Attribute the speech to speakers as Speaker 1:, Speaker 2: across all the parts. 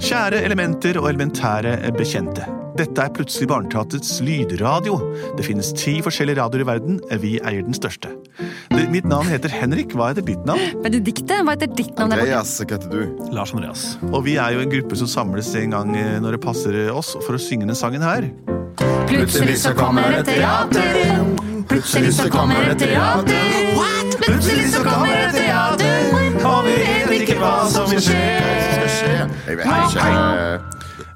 Speaker 1: Kjære elementer og elementære bekjente. Dette er plutselig Barneteatrets lydradio. Det finnes ti forskjellige radioer i verden. Vi eier den største. Det, mitt navn heter Henrik. Hva heter ditt navn?
Speaker 2: Benedikte, hva heter ditt navn? der borte?
Speaker 3: Andreas, hva heter du?
Speaker 4: Lars Andreas.
Speaker 1: Og vi er jo en gruppe som samles en gang eh, når det passer oss for å synge den sangen her.
Speaker 2: Plutselig så kommer et teater. Plutselig så kommer et teater. Plutselig så kommer et teater.
Speaker 1: Og vi vet ikke hva som vil skje.
Speaker 3: Hva skjer? Jeg vet ikke.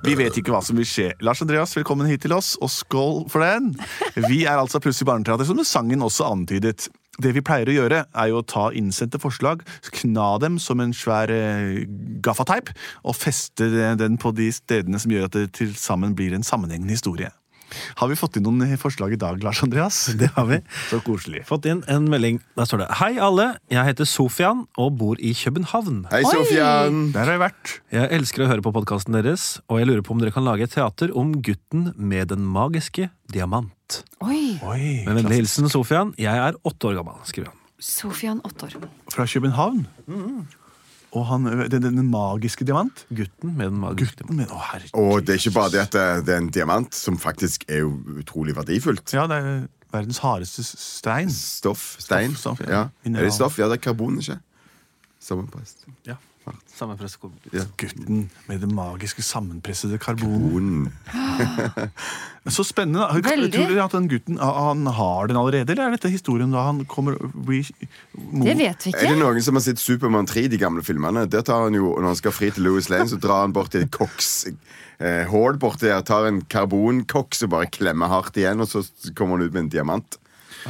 Speaker 1: Vi vet ikke hva som vil skje. Lars Andreas, velkommen hit til oss, og skål for den! Vi er altså Plutselig barneteater, som sangen også antydet. Det vi pleier å gjøre, er jo å ta innsendte forslag, kna dem som en svær eh, gaffateip, og feste den på de stedene som gjør at det til sammen blir en sammenhengende historie. Har vi fått inn noen forslag i dag, Lars Andreas?
Speaker 4: Det har vi.
Speaker 1: Så koselig.
Speaker 4: Fått inn en melding. Der står det Hei, alle. Jeg heter Sofian og bor i København.
Speaker 3: Hei, Sofian.
Speaker 1: Der har jeg vært.
Speaker 4: Jeg elsker å høre på podkasten deres, og jeg lurer på om dere kan lage et teater om gutten med den magiske diamant.
Speaker 2: Oi,
Speaker 1: Oi,
Speaker 4: Med vennlig hilsen Sofian. Jeg er åtte år gammel, skriver han.
Speaker 2: Sofian åtte år.
Speaker 1: Fra København.
Speaker 4: Mm.
Speaker 1: Og han, den, den magiske diamant.
Speaker 4: Gutten med den magiske diamant.
Speaker 1: Men, å, herre.
Speaker 3: Og det er ikke bare det at eh, det det er en diamant, som faktisk er jo utrolig verdifullt.
Speaker 1: Ja, det er verdens hardeste s- stein.
Speaker 3: Stoff. Stein.
Speaker 1: Stoff, stoff, ja.
Speaker 3: ja. Er
Speaker 1: Mineral.
Speaker 3: det stoff? Ja, det er karbon, ikke? Sammenprest.
Speaker 4: Ja. Samme pressekonferanse.
Speaker 3: Ja.
Speaker 1: Gutten med det magiske sammenpressede karbonet.
Speaker 3: Karbon.
Speaker 1: Så spennende. da.
Speaker 2: Veldig.
Speaker 1: Tror dere at den gutten han har den allerede, eller er dette historien da han kommer blir mor?
Speaker 2: Det vet vi
Speaker 3: Er det
Speaker 2: ikke.
Speaker 3: noen som har sett Supermann 3, de gamle filmene? Der tar han jo, Når han skal fri til Louis Lane, så drar han bort til et koks eh, hål borti der, tar en karbonkoks og bare klemmer hardt igjen, og så kommer han ut med en diamant.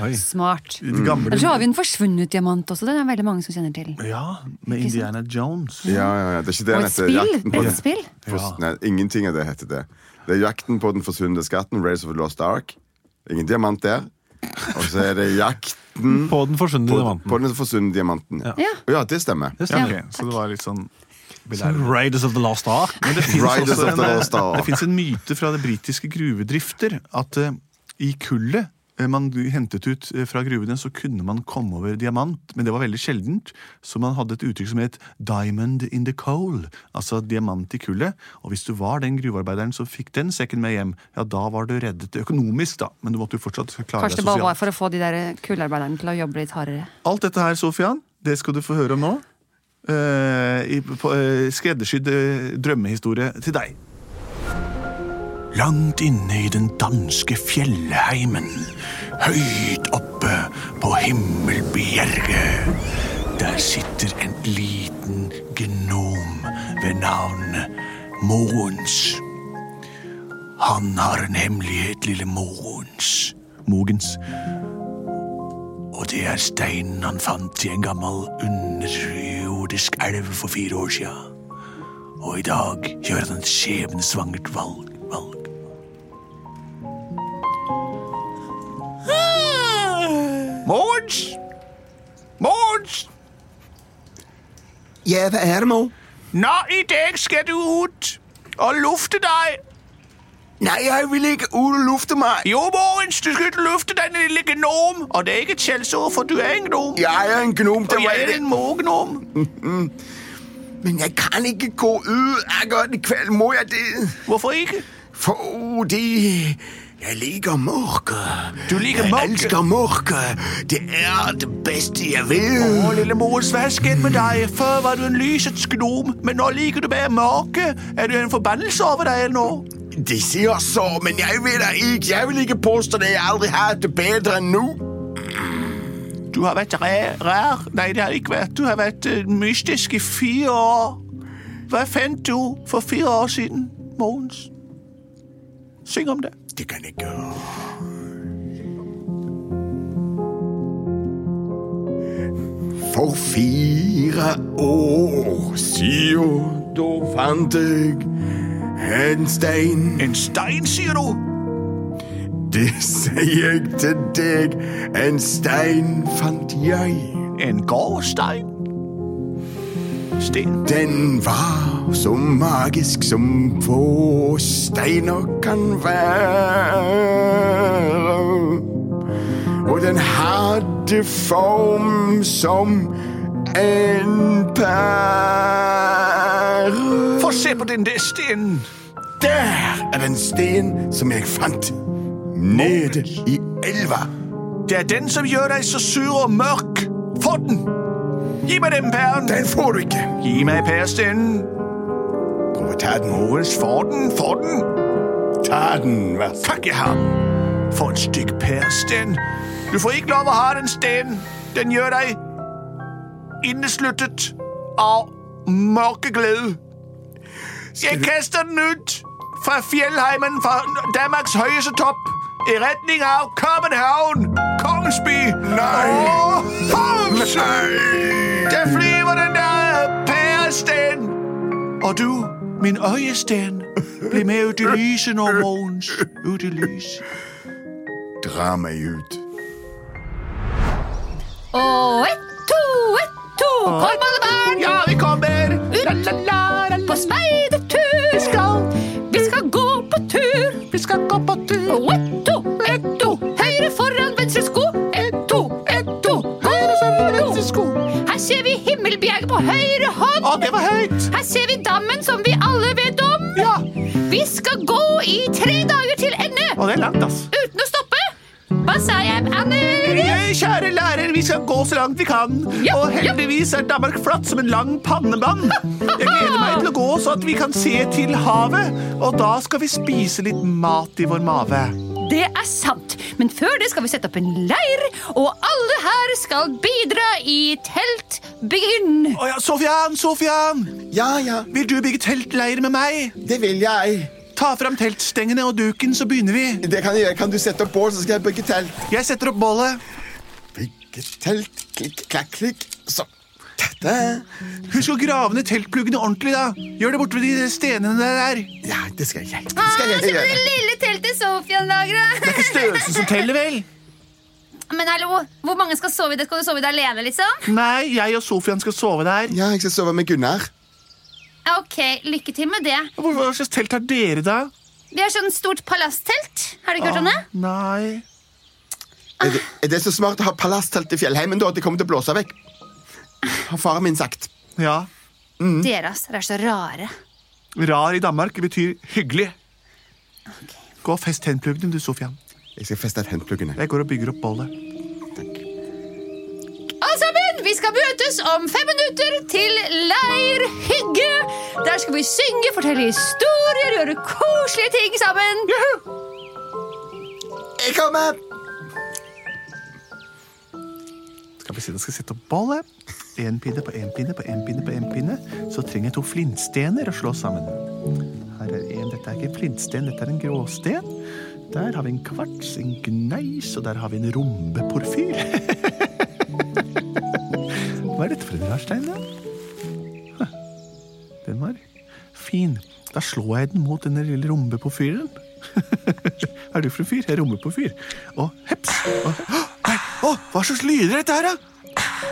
Speaker 1: Oi.
Speaker 2: Smart.
Speaker 1: De gamle
Speaker 2: Ellers så har vi en forsvunnet diamant også. Den er veldig mange som kjenner til.
Speaker 1: Ja, med
Speaker 2: Ikke sant?
Speaker 1: Indiana Jones.
Speaker 3: Ja, ja, ja. Det er ikke det
Speaker 2: Og
Speaker 3: han
Speaker 2: et spill.
Speaker 3: heter. Jakten på den-
Speaker 2: Brettspill.
Speaker 3: Fors- Nei, ingenting av det heter det. Det er Jakten på den forsvunne skatten, Race of the Lost Ark. Ingen diamant der. Og så er det Jakten
Speaker 4: På den forsvunne
Speaker 3: på,
Speaker 4: diamanten.
Speaker 3: på den forsvunne diamanten. Ja,
Speaker 2: Ja.
Speaker 3: det stemmer.
Speaker 1: Ja, ok, Så det var litt sånn belærende.
Speaker 4: Raiders of the Last Ark.
Speaker 1: Men det finnes
Speaker 3: Riders
Speaker 1: også
Speaker 3: of the Lost
Speaker 1: en, eh,
Speaker 3: Ark.
Speaker 1: det finnes en myte fra det britiske gruvedrifter at eh, i kullet eh, man hentet ut eh, fra gruvene, så kunne man komme over diamant, men det var veldig sjeldent. Så man hadde et uttrykk som het 'diamond in the coal', altså diamant i kullet. Og hvis du var den gruvearbeideren som fikk den sekken med hjem, ja, da var du reddet økonomisk, da. Men du måtte jo fortsatt klare
Speaker 2: Kanskje
Speaker 1: deg
Speaker 2: det bare var
Speaker 1: sosialt.
Speaker 2: for å få de der kullarbeiderne til å jobbe litt hardere.
Speaker 1: Alt dette her, Sofian, det skal du få høre om nå. Eh, i, på, eh, skreddersydd eh, drømmehistorie til deg. Langt inne i den danske fjellheimen, høyt oppe på himmelbjerget, der sitter en liten gnom ved navn Mogens. Han har en hemmelighet, lille Mogens. Mogens. Og det er steinen han fant i en gammel underjordisk elv for fire år sia. Og i dag gjør han et skjebnesvangert valg. valg. Mogens! Mogens!
Speaker 3: Ja, hva er det, Mo?
Speaker 1: Nå, i dag skal du ut og lufte deg.
Speaker 3: Nei, jeg vil ikke ut og lufte meg.
Speaker 1: Jo, Mogens, du skal ikke lufte deg, din lille gnom. Og det er ikke et skjellsord, for du er en gnom.
Speaker 3: Jeg er en gnom
Speaker 1: Og
Speaker 3: til
Speaker 1: jeg er
Speaker 3: meg.
Speaker 1: en mågnom.
Speaker 3: Men jeg kan ikke gå ut akkurat i kveld. Må jeg det?
Speaker 1: Hvorfor ikke?
Speaker 3: Fordi jeg liker mørket.
Speaker 1: Du liker
Speaker 3: Jeg
Speaker 1: mørket.
Speaker 3: elsker mørket. Det er det beste jeg
Speaker 1: Åh,
Speaker 3: vil.
Speaker 1: lille Mogens, hva er skjedd med deg? Før var du en lysets gnom, men nå liker du bare mørke. Er det en forbannelse over deg eller nå?
Speaker 3: De sier så, men jeg vil da ikke. Jeg vil ikke påstå det. Jeg aldri har det bedre enn nå.
Speaker 1: Du har vært ræ- rar. Nei, det har ikke vært. Du har vært eh, mystisk i fire år. Hva fant du for fire år siden, Mogens? Syng om det.
Speaker 3: Det kan jeg gjøre. For fire år siden, da fant jeg en stein.
Speaker 5: En stein, sier du?
Speaker 3: Det sier jeg til deg. En stein fant jeg.
Speaker 5: En gårdstein? Sten.
Speaker 3: Den var så magisk som få steiner kan være. Og den hadde form som en pære.
Speaker 5: Få se på den der stenen.
Speaker 3: Der er den sten som jeg fant nede i elva.
Speaker 5: Det er den som gjør deg så sur og mørk. Få den! Gi meg den pæren.
Speaker 3: Den får du ikke.
Speaker 5: Gi meg pærestenen.
Speaker 3: Prøv å ta den.
Speaker 5: Mogens, få den, få den.
Speaker 3: Ta den, vær så
Speaker 5: Takk i ham. For et stykk pæresten. Du får ikke lov å ha den stenen. Den gjør deg innesluttet av mørke glede. Jeg kaster den ut fra fjellheimen fra Danmarks høyeste topp i retning av København, Kongensby
Speaker 3: Nei.
Speaker 5: og Holmsø.
Speaker 3: Nei!
Speaker 5: Der flyver den der pæresten. Og du, min øyesten, bli med ut i lyset nå, Mogens. Ut i lyset.
Speaker 3: Dra meg ut.
Speaker 2: Og ett, to, ett, to. Kom alle barn
Speaker 5: Ja, vi kommer!
Speaker 2: ut på speidertur. Vi skal, gå på tur. Vi skal gå på tur. Og ett, to, ett, to. Høyre foran venstre sko. Ett, to, ett, to. Høyre foran venstre sko. Her ser vi Himmelbjerget på høyre hånd.
Speaker 5: Å, det var høyt!
Speaker 2: Her ser vi dammen som vi alle vet om.
Speaker 5: Ja,
Speaker 2: Vi skal gå i tre dager til ende
Speaker 5: og det er langt, ass.
Speaker 2: uten å stoppe. Hva sa jeg, Anne?
Speaker 5: Eh, Kjære lærer, vi skal gå så langt vi kan.
Speaker 2: Ja,
Speaker 5: Og
Speaker 2: ja.
Speaker 5: heldigvis er Danmark flatt som en lang pannebånd. Jeg gleder meg til å gå så at vi kan se til havet. Og da skal vi spise litt mat i vår mave.
Speaker 2: Det er sant. Men før det skal vi sette opp en leir, og alle her skal bidra i teltbygging.
Speaker 5: Å ja, Sofian, Sofian!
Speaker 3: Ja, ja,
Speaker 5: Vil du bygge teltleir med meg?
Speaker 3: det vil jeg.
Speaker 5: Ta fram teltstengene og duken, så begynner vi.
Speaker 3: Det kan jeg gjøre. Kan du sette opp bål, så skal jeg bygge telt?
Speaker 5: Jeg setter opp bålet.
Speaker 3: Bygge telt, klikk, klakk, klikk. Så. Dette.
Speaker 5: Husk å grave ned teltpluggene ordentlig, da. Gjør det borte ved de stenene der. Det
Speaker 3: Ja, det skal jeg. Det
Speaker 2: Ah, se
Speaker 3: skal jeg
Speaker 2: på det
Speaker 3: gjøre.
Speaker 2: lille teltet Sofian lagra.
Speaker 5: er ikke størrelsen som teller, vel?
Speaker 2: Men hallo, hvor mange skal sove i det? Skal du sove i det alene, liksom?
Speaker 5: Nei, jeg og Sofian skal sove der.
Speaker 3: Ja, jeg skal sove med Gunnar.
Speaker 2: Ja, Ok, lykke til med det.
Speaker 5: Hva hva slags telt har dere, da?
Speaker 2: Vi har sånn stort palasstelt. Har du ikke hørt om det?
Speaker 5: Ah, Nei.
Speaker 3: Er det, er det så smart å ha palasstelt i fjellheimen da at det kommer til å blåse vekk? Har faren min sagt.
Speaker 5: Ja.
Speaker 2: Dere ass, dere er så rare.
Speaker 5: Rar i Danmark betyr hyggelig. Gå og fest tennpluggene, du, Sofian.
Speaker 3: Jeg skal feste hendpluggene.
Speaker 5: Jeg går og bygger opp bollet.
Speaker 2: Alle sammen, vi skal møtes om fem minutter til leirhygge. Der skal vi synge, fortelle historier, gjøre koselige ting sammen.
Speaker 3: Jeg kommer!
Speaker 5: Skal vi se, da skal jeg sette opp bollet. En pinne på en pinne på en pinne på en pinne. Så trenger jeg to flintstener å slå sammen. Her er en, Dette er ikke en flintsten, dette er en gråsten. Der har vi en kvarts, en gneis, og der har vi en rombeporfyr. Hva er dette for en rar stein, da? Huh. Den var fin. Da slår jeg den mot den lille rombeporfyren. er du for en fyr? Jeg er rombeporfyr. Og heps. Og, Nei, å, hva slags lyder er dette her, da?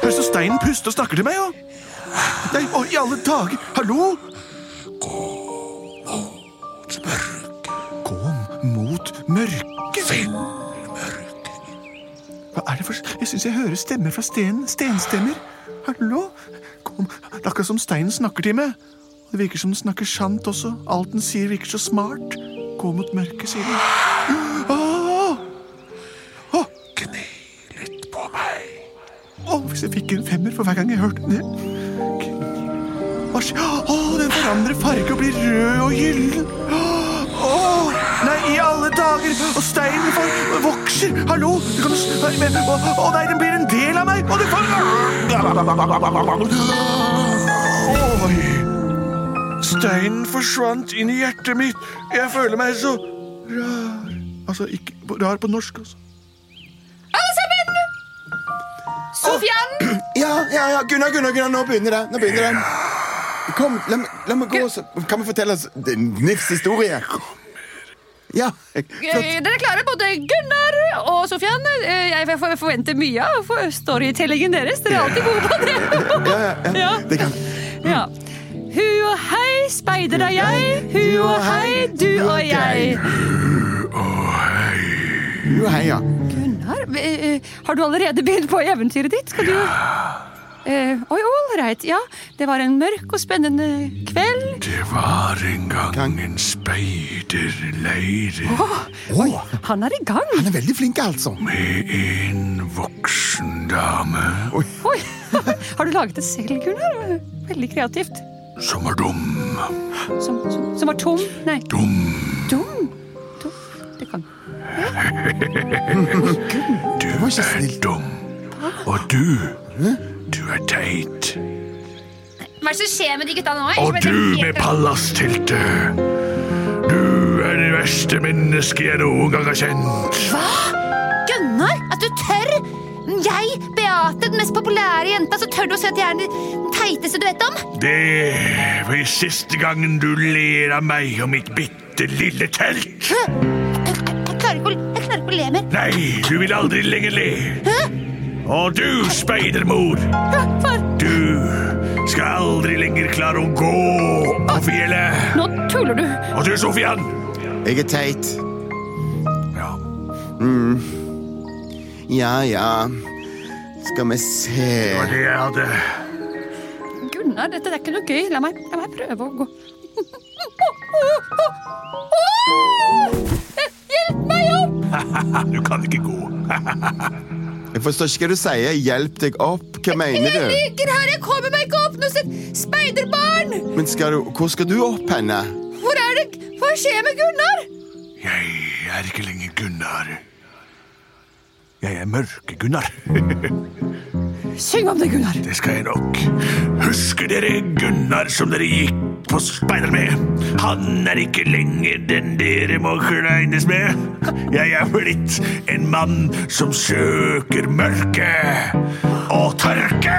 Speaker 5: Høres ut som steinen puster og snakker til meg, jo. Nei, å, i alle dager. Hallo? Gå mot mørket. Hva er det for Jeg syns jeg hører stemmer fra stenen. Stenstemmer. Hallo? Kom. Det er akkurat som steinen snakker til meg. Og Det virker som den snakker sant også. Alt den sier, virker så smart. Gå mot mørket, sier den. Åh! Åh! Gni litt på meg. Åh, hvis jeg fikk en femmer for hver gang jeg hørte det. Hva skjer? Åh, den forandrer farge og blir rød og gyllen. Åh, nei, i alle dager. Og steinen får- vokser. Hallo, du kan s- nei, men- Å å, nei, den blir en del av meg. Og det får Oi. Steinen forsvant inn i hjertet mitt. Jeg føler meg så rar. Altså, ikke rar på norsk, altså.
Speaker 2: Alle sammen! Sofian,
Speaker 3: Ja, ja, ja, Gunnar, Gunnar, Gunnar, nå begynner det. Nå begynner det. Kom, la, meg- la meg gå, så kan vi fortelle oss Nifs historie. Ja, flott.
Speaker 2: Eh, Dere klarer både Gunnar og Sofian. Eh, Jeg for- forventer mye av storytellingen deres. Dere er alltid gode på det.
Speaker 3: Ja, ja, ja.
Speaker 2: Ja.
Speaker 3: Det kan.
Speaker 2: Ja. Hu og hei, speider er jeg. Hu og hei, du og jeg.
Speaker 3: Jo, hei, ja.
Speaker 2: Gunnar, eh, eh, har du allerede begynt på eventyret ditt? Skal du Eh, Oi, all right. Ja, det var en mørk og spennende kveld.
Speaker 5: Det var en gang en speiderleire
Speaker 3: Oi,
Speaker 2: Han er i gang.
Speaker 3: han er veldig flink, altså.
Speaker 5: med en voksen dame
Speaker 2: Oi. Har du laget det selv, Gunnar? Veldig kreativt.
Speaker 5: som er dum.
Speaker 2: Som, som, som var tom? Nei.
Speaker 5: Dum.
Speaker 2: Dum? Dum? Det kan
Speaker 5: Du
Speaker 3: var ikke
Speaker 5: er
Speaker 3: snill.
Speaker 5: dum. Og du, du er teit.
Speaker 6: Hva er det som skjer med de gutta nå?
Speaker 5: Og
Speaker 6: Jeg skjønner
Speaker 5: du
Speaker 6: helt-
Speaker 5: med palassteltet. Du er det verste mennesket jeg noen gang har kjent.
Speaker 6: Gunnar, at du tør! Jeg, Beate, den mest populære jenta, så tør du å si at jeg er den teiteste du vet om?
Speaker 5: Det var siste gangen du ler av meg og mitt bitte lille telt.
Speaker 6: Hæ? Jeg, jeg, jeg, klarer ikke å, jeg klarer ikke å le mer.
Speaker 5: Nei, du vil aldri lenger le.
Speaker 6: Hæ?
Speaker 5: Og du, speidermor,
Speaker 2: Ja, far.
Speaker 5: du skal aldri lenger klare å gå på fjellet.
Speaker 2: Nå tuller du.
Speaker 5: Og du, Sofian.
Speaker 3: Jeg er teit.
Speaker 5: Ja,
Speaker 3: Ja, ja. Skal vi se
Speaker 5: det var det jeg hadde.
Speaker 2: Gunnar, dette er ikke noe gøy. La meg, la meg prøve å gå. Hjelp meg opp!
Speaker 5: Du kan ikke gå.
Speaker 3: Jeg forstår ikke hva du sier. Hjelp deg opp. Hva mener
Speaker 2: Jeg
Speaker 3: du?
Speaker 2: ligger her, jeg kommer meg ikke opp! Nå sitter speiderbarn!
Speaker 3: Men skal du, Hvor skal du opp henne?
Speaker 2: Hvor er det? Hva skjer med Gunnar?
Speaker 5: Jeg er ikke lenger Gunnar. Jeg er mørke-Gunnar.
Speaker 2: Syng om det, Gunnar.
Speaker 5: Det skal jeg nok. Husker dere Gunnar som dere gikk på speider med? Han er ikke lenger den dere må kleines med. Jeg er blitt en mann som søker mørke og tørke.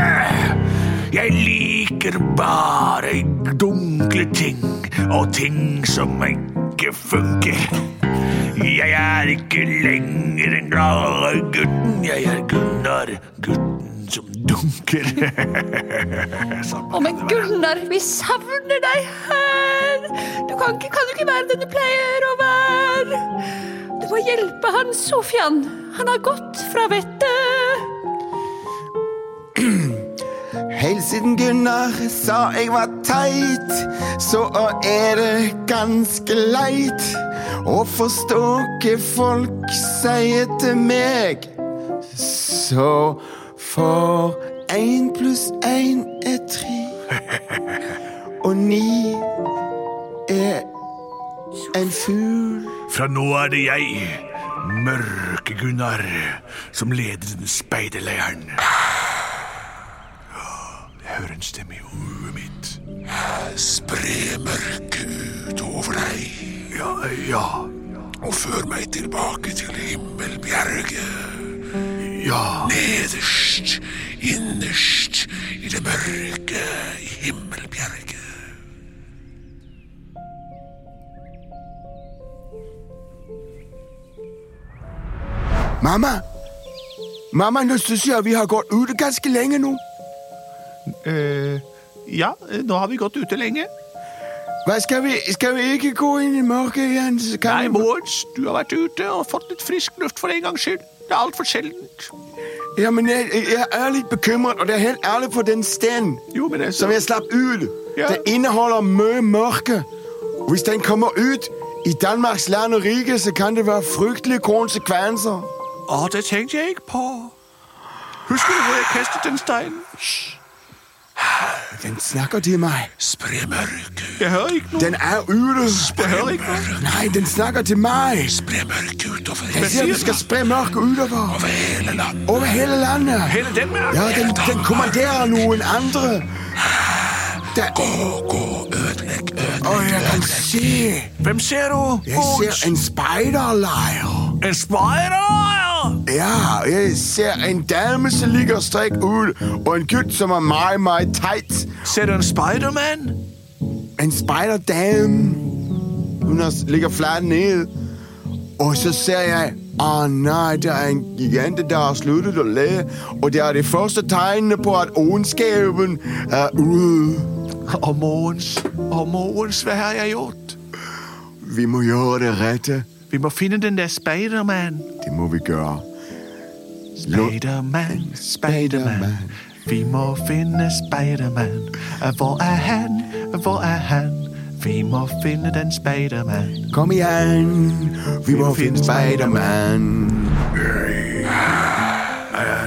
Speaker 5: Jeg liker bare dunkle ting og ting som ikke funker. Jeg er ikke lenger en glad gutten. Jeg er Gunnar, gutten som dunker. Samme
Speaker 2: Å, men
Speaker 5: kan det være.
Speaker 2: Gunnar, vi savner deg her! Du kan, ikke, kan du ikke være den du pleier å være? Du må hjelpe han, Sofian. Han har gått fra vettet.
Speaker 3: Helt siden Gunnar sa jeg var teit, så er det ganske leit å forstå hva folk sier til meg. Så for én pluss én er tre, og ni er en fugl.
Speaker 5: Fra nå er det jeg, mørke Gunnar, som leder den speiderleiren. Jeg hører en stemme i hodet mitt. Spre mørket ut over deg. Ja, ja. Og før meg tilbake til himmelbjerget. Ja. Nederst, innerst, i det mørke himmelbjerget.
Speaker 3: Mamma! Mamma, nå syns jeg vi har gått ute ganske lenge nå.
Speaker 1: Eh, ja, nå har vi gått ute lenge.
Speaker 3: Hva, skal, vi, skal vi ikke gå inn i mørket igjen? Så kan
Speaker 1: Nei,
Speaker 3: vi-
Speaker 1: Morens, du har vært ute og fått litt frisk luft for en gangs skyld. Det er altfor sjeldent.
Speaker 3: Ja, men jeg, jeg er litt bekymret, og det er helt ærlig for den steinen
Speaker 1: Jo, men
Speaker 3: som jeg slapp ut.
Speaker 1: Ja.
Speaker 3: Det inneholder mye mørke. Og Hvis den kommer ut i Danmarks land og rike, så kan det være fryktelige konsekvenser.
Speaker 1: Å, det tenkte jeg ikke på. Husker du hvor jeg kastet den steinen?
Speaker 3: Den snakker til meg.
Speaker 5: Spre mørket,
Speaker 1: Jeg hører ikke noe.
Speaker 3: Den er ute.
Speaker 1: Jeg hører ikke noe.
Speaker 3: Nei, den snakker til meg.
Speaker 5: spre mørket utover
Speaker 3: Jeg sier vi skal spre mørket utover.
Speaker 5: over hele landet.
Speaker 3: Over hele landet.
Speaker 1: Hele den med.
Speaker 3: Ja, den, den kommanderer noen andre. Det,
Speaker 5: Gå, gå, ødelegg, ødelegg.
Speaker 3: og jeg kan se.
Speaker 5: Hvem ser du?
Speaker 3: Jeg ser en speiderleir.
Speaker 5: En spider?
Speaker 3: Ja, jeg ser en dame som ligger strek ud, og en gutt som er meget, meget teit.
Speaker 5: Ser du en Spiderman?
Speaker 3: En spejderdame. Hun er, ligger flat ned. Og så ser jeg, åh nej, der er en gigante, der har sluttet at lade. Og det er det første tegnene på, at ondskaben er ude.
Speaker 5: Og morgens, og morgens, hva har jeg gjort?
Speaker 3: Vi må gjøre det rette.
Speaker 5: Vi må finne den der Spiderman.
Speaker 3: Det må vi gøre. Lå-
Speaker 5: Spiderman, Spiderman. Vi må finne Spiderman. Hvor er han? Hvor er han? Vi må finne den Spiderman.
Speaker 3: Kom igjen, vi må finne Spiderman.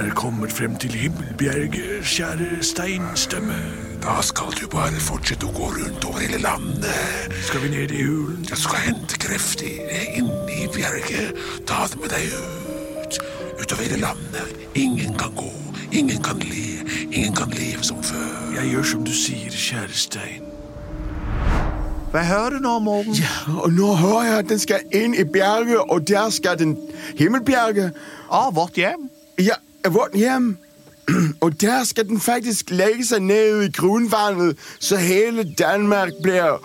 Speaker 1: er kommet frem til Himmelbjerget, kjære steinstemme. Da skal du bare fortsette å gå rundt over hele landet. Skal vi ned i hulen? Du skal hente krefter inni bjerget. Ta det med deg ut. Utover hele landet. Ingen kan gå. Ingen kan le. Ingen kan leve som før. Jeg gjør som du sier, kjære stein.
Speaker 5: Hva hører du nå, Morgen?
Speaker 3: Og nå hører jeg, at den skal inn i bjerget, og der skal den himmelbjerget.
Speaker 5: Av vårt hjem.
Speaker 3: Ja, vårt hjem. Og der skal den faktisk legge seg ned i grunnvannet, så hele Danmark blir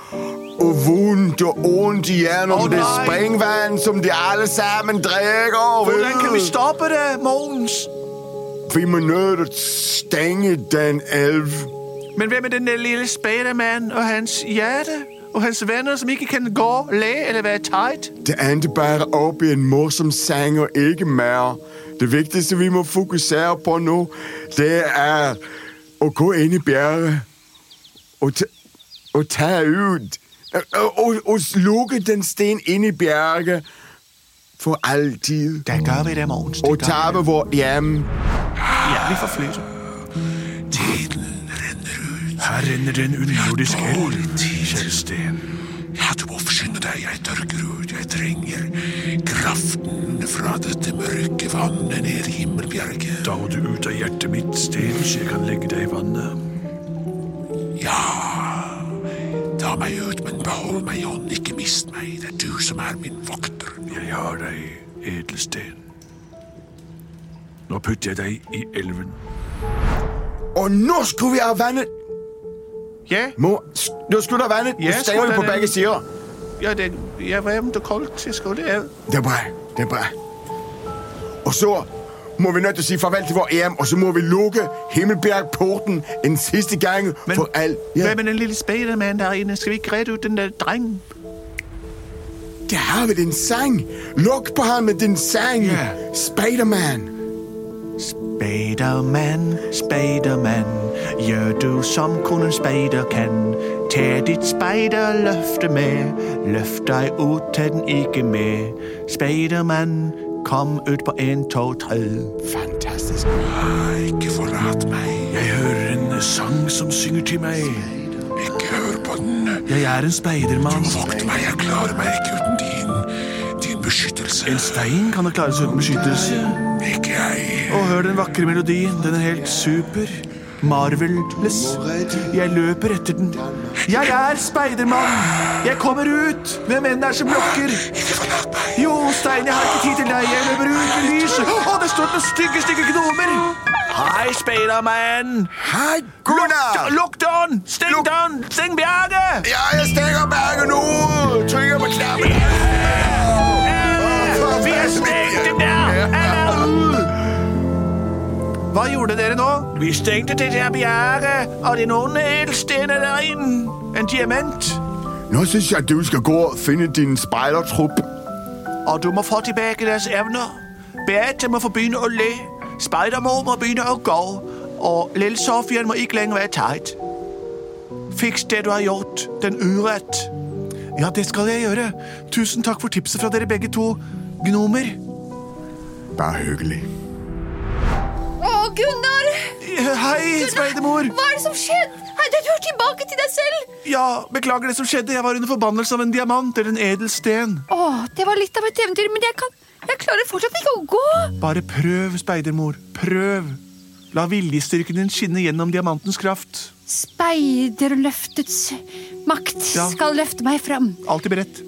Speaker 3: og vondt og ondt igjennom
Speaker 5: Å,
Speaker 3: det
Speaker 5: nei.
Speaker 3: springvann som de alle sammen drikker. ved.
Speaker 5: Hvordan kan vi stoppe det, Mogens?
Speaker 3: Vi må nødt til å stenge den elv.
Speaker 5: Men hvem er den der lille Spiderman og hans hjerte? Og hans venner som ikke kan gå, le eller være teit?
Speaker 3: Det endte bare opp i en morsom sang og ikke mer. Det viktigste vi må fokusere på nå, det er å gå inn i bjerget og ta, og ta ut og, og, og lukke den sten inn i bjerget for alltid.
Speaker 5: Da gør vi det, Mogens. Det
Speaker 3: Og
Speaker 5: gør vi.
Speaker 3: tape vårt hjem.
Speaker 5: Ja, vi får flytte.
Speaker 1: Tiden renner ut. Her renner det en underjordisk elv, kjære Sten. Ja, du må skynde deg. Jeg tørker ut. Jeg trenger kraften fra dette mørke vannet ned i himmelbjerget. Da må du ut av hjertet mitt, Sten, så jeg kan legge deg i vannet. Ja. Ta meg ut, men behold meg i hånden. Ikke mist meg. Det er du som er min vokter. Jeg har deg, edelsten. Nå putter jeg deg i elven.
Speaker 3: Og nå skulle vi ha vannet!
Speaker 5: Ja,
Speaker 3: Må, nå skulle det ha vannet!
Speaker 5: Ja,
Speaker 3: Nå stenger
Speaker 5: skulle
Speaker 3: vi på
Speaker 5: det det.
Speaker 3: begge sider.
Speaker 5: ja, det, ja, hvad er det koldt? Jeg skulle det
Speaker 3: Det er bra. Det er bra. Og så må vi nødt til å si farvel til vår EM, og så må vi lukke Himmelbergporten en siste gang for alt.
Speaker 5: Hvad med den lille Spiderman derinde? Skal vi ikke redde ud den der dreng?
Speaker 3: Der har vi din sang. Lukk på ham med din sang.
Speaker 5: Ja.
Speaker 3: Spiderman.
Speaker 5: Spiderman, Spiderman, gør du som kun en spider kan. Tag dit spiderløfte med, løft dig ud, tag den ikke med. Spiderman, kom ud på en, to, tre.
Speaker 3: Fantastisk.
Speaker 1: Ikke forlat meg. Jeg hører en sang som synger til meg. Ikke hør på den.
Speaker 7: Jeg er en speidermann.
Speaker 1: Vokt meg, jeg klarer meg ikke uten din, din beskyttelse.
Speaker 7: En stein kan da klare seg uten beskyttelse.
Speaker 1: Ikke jeg.
Speaker 7: Og hør den vakre melodien. Den er helt super. Marvelous. Jeg løper etter den. Jeg er speidermann! Jeg kommer ut! Hvem enn det er som lokker. Jo, Stein, jeg har ikke tid til deg. Jeg løper ut i lyset. Å, det står noen stygge, stygge gnomer!
Speaker 5: Hej, Spiderman!
Speaker 3: Hei, Gunnar!
Speaker 5: Luk døren! Stæng døren! Stæng bjerget!
Speaker 3: Ja, jeg stenger berget nå. Trykker på knappen. Åh, for
Speaker 5: Vi har
Speaker 3: helvete.
Speaker 5: stengt dem der! Alle ude! Hva gjorde dere nå? Vi stengte det der bjerget, og den onde edelstene derinde. En diamant.
Speaker 3: Nå synes jeg, du skal gå og finde din spejdertrup.
Speaker 5: Og du må få tilbage deres evner. Beate må få begynne å le. Spidermor må begynne å gå. Og lille Sofian må ikke lenger være teit. Fiks det du har gjort. Den urett. Ja, det skal jeg gjøre. Tusen takk for tipset fra dere begge to. Gnomer.
Speaker 3: Bare hyggelig.
Speaker 2: Å, Gunnar!
Speaker 5: Hei, speidermor.
Speaker 2: Hva er det som skjedde? Hei, du er tilbake til deg selv!
Speaker 5: Ja, beklager det som skjedde. Jeg var under forbannelse av en diamant eller en
Speaker 1: e-
Speaker 5: edel sten.
Speaker 2: Å, det var litt av et eventyr, men jeg kan Jeg klarer fortsatt ikke å gå!
Speaker 5: Bare prøv, speidermor. Prøv. La viljestyrken din skinne gjennom diamantens kraft.
Speaker 2: Speiderløftets makt
Speaker 5: Ja.
Speaker 2: skal løfte meg fram.
Speaker 5: Alltid beredt.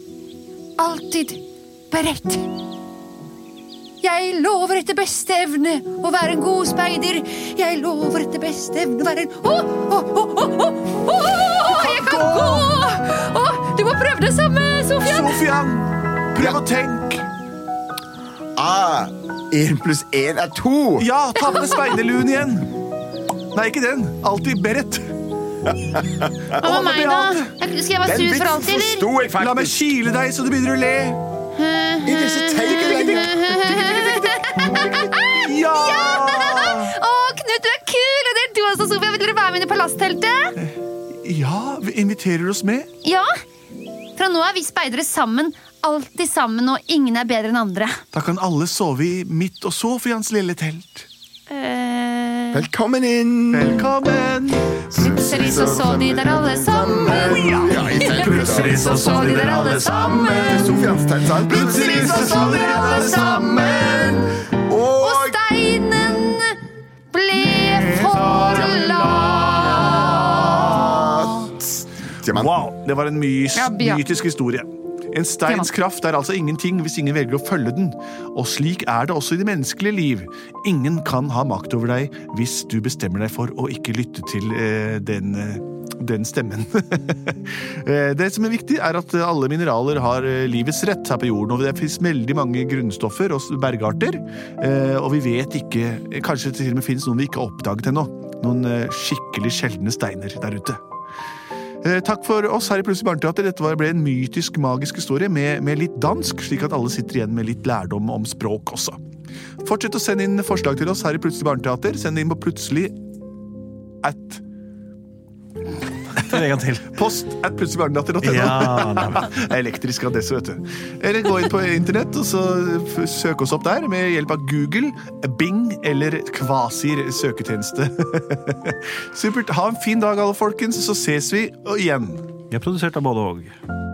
Speaker 2: Alltid beredt. Jeg lover etter beste evne å være en god speider. Jeg lover etter beste evne å være en Å, å, å, å, å, å, jeg kan gå! Å, du må prøve det samme, Sofian.
Speaker 1: Sofian, prøv å tenke.
Speaker 3: Ah, én pluss én er to.
Speaker 1: Ja, ta på deg speiderluen igjen. Nei, ikke den. Alltid beredt.
Speaker 6: Hva med meg, da? Jeg- Skal jeg være sur for alltid, eller?
Speaker 3: forsto jeg faktisk.
Speaker 1: La meg kile deg så du begynner å le.
Speaker 3: ikke så teit lenger.
Speaker 1: Ja!
Speaker 6: Å, Knut, du er kul! Og det er du også, Sofia. Vil dere være med inn i palassteltet?
Speaker 1: Ja, vi inviterer oss med.
Speaker 6: Ja. Fra nå er vi speidere sammen. Alltid sammen, og ingen er bedre enn andre.
Speaker 1: Da kan alle sove i mitt og Sofians lille telt.
Speaker 6: Eh,
Speaker 3: Velkommen inn.
Speaker 1: Velkommen!
Speaker 6: Plutselig så så de der alle sammen.
Speaker 3: Ja, i telt.
Speaker 6: Plutselig så så de der alle sammen.
Speaker 3: Sofians telt, sant?
Speaker 1: Plutselig så så vi alle sammen.
Speaker 6: Og steinen ble for lat.
Speaker 3: Diamant.
Speaker 1: Wow, det var en mys
Speaker 2: Ja, ja.
Speaker 1: mytisk historie. En steins kraft er altså ingenting hvis ingen velger å følge den. Og slik er det også i det menneskelige liv. Ingen kan ha makt over deg hvis du bestemmer deg for å ikke lytte til eh, den, eh, den stemmen. Eh, det som er viktig, er at eh, alle mineraler har eh, livets rett her på jorden. Og det fins veldig mange grunnstoffer og s- bergarter. eh, Og vi vet ikke eh, Kanskje det til og med fins noen vi ikke har oppdaget ennå. Noen eh, skikkelig sjeldne steiner der ute. Eh, Takk for oss her i Plutselig barneteater. Dette var- ble en mytisk, magisk historie med, med litt dansk, slik at alle sitter igjen med litt lærdom om språk også. Fortsett å sende inn forslag til oss her i Plutselig barneteater. Send det inn på plutselig at
Speaker 8: Ta det en gang til.
Speaker 1: post at plutseligbarneteater.no.
Speaker 8: Ja,
Speaker 1: Elektrisk adresse, vet du. Eller gå inn på internett og så f- søk oss opp der med hjelp av Google, Bing eller Kvasir søketjeneste. Supert. Ha en fin dag, alle folkens, så ses vi og igjen.
Speaker 8: Vi er produsert av både og.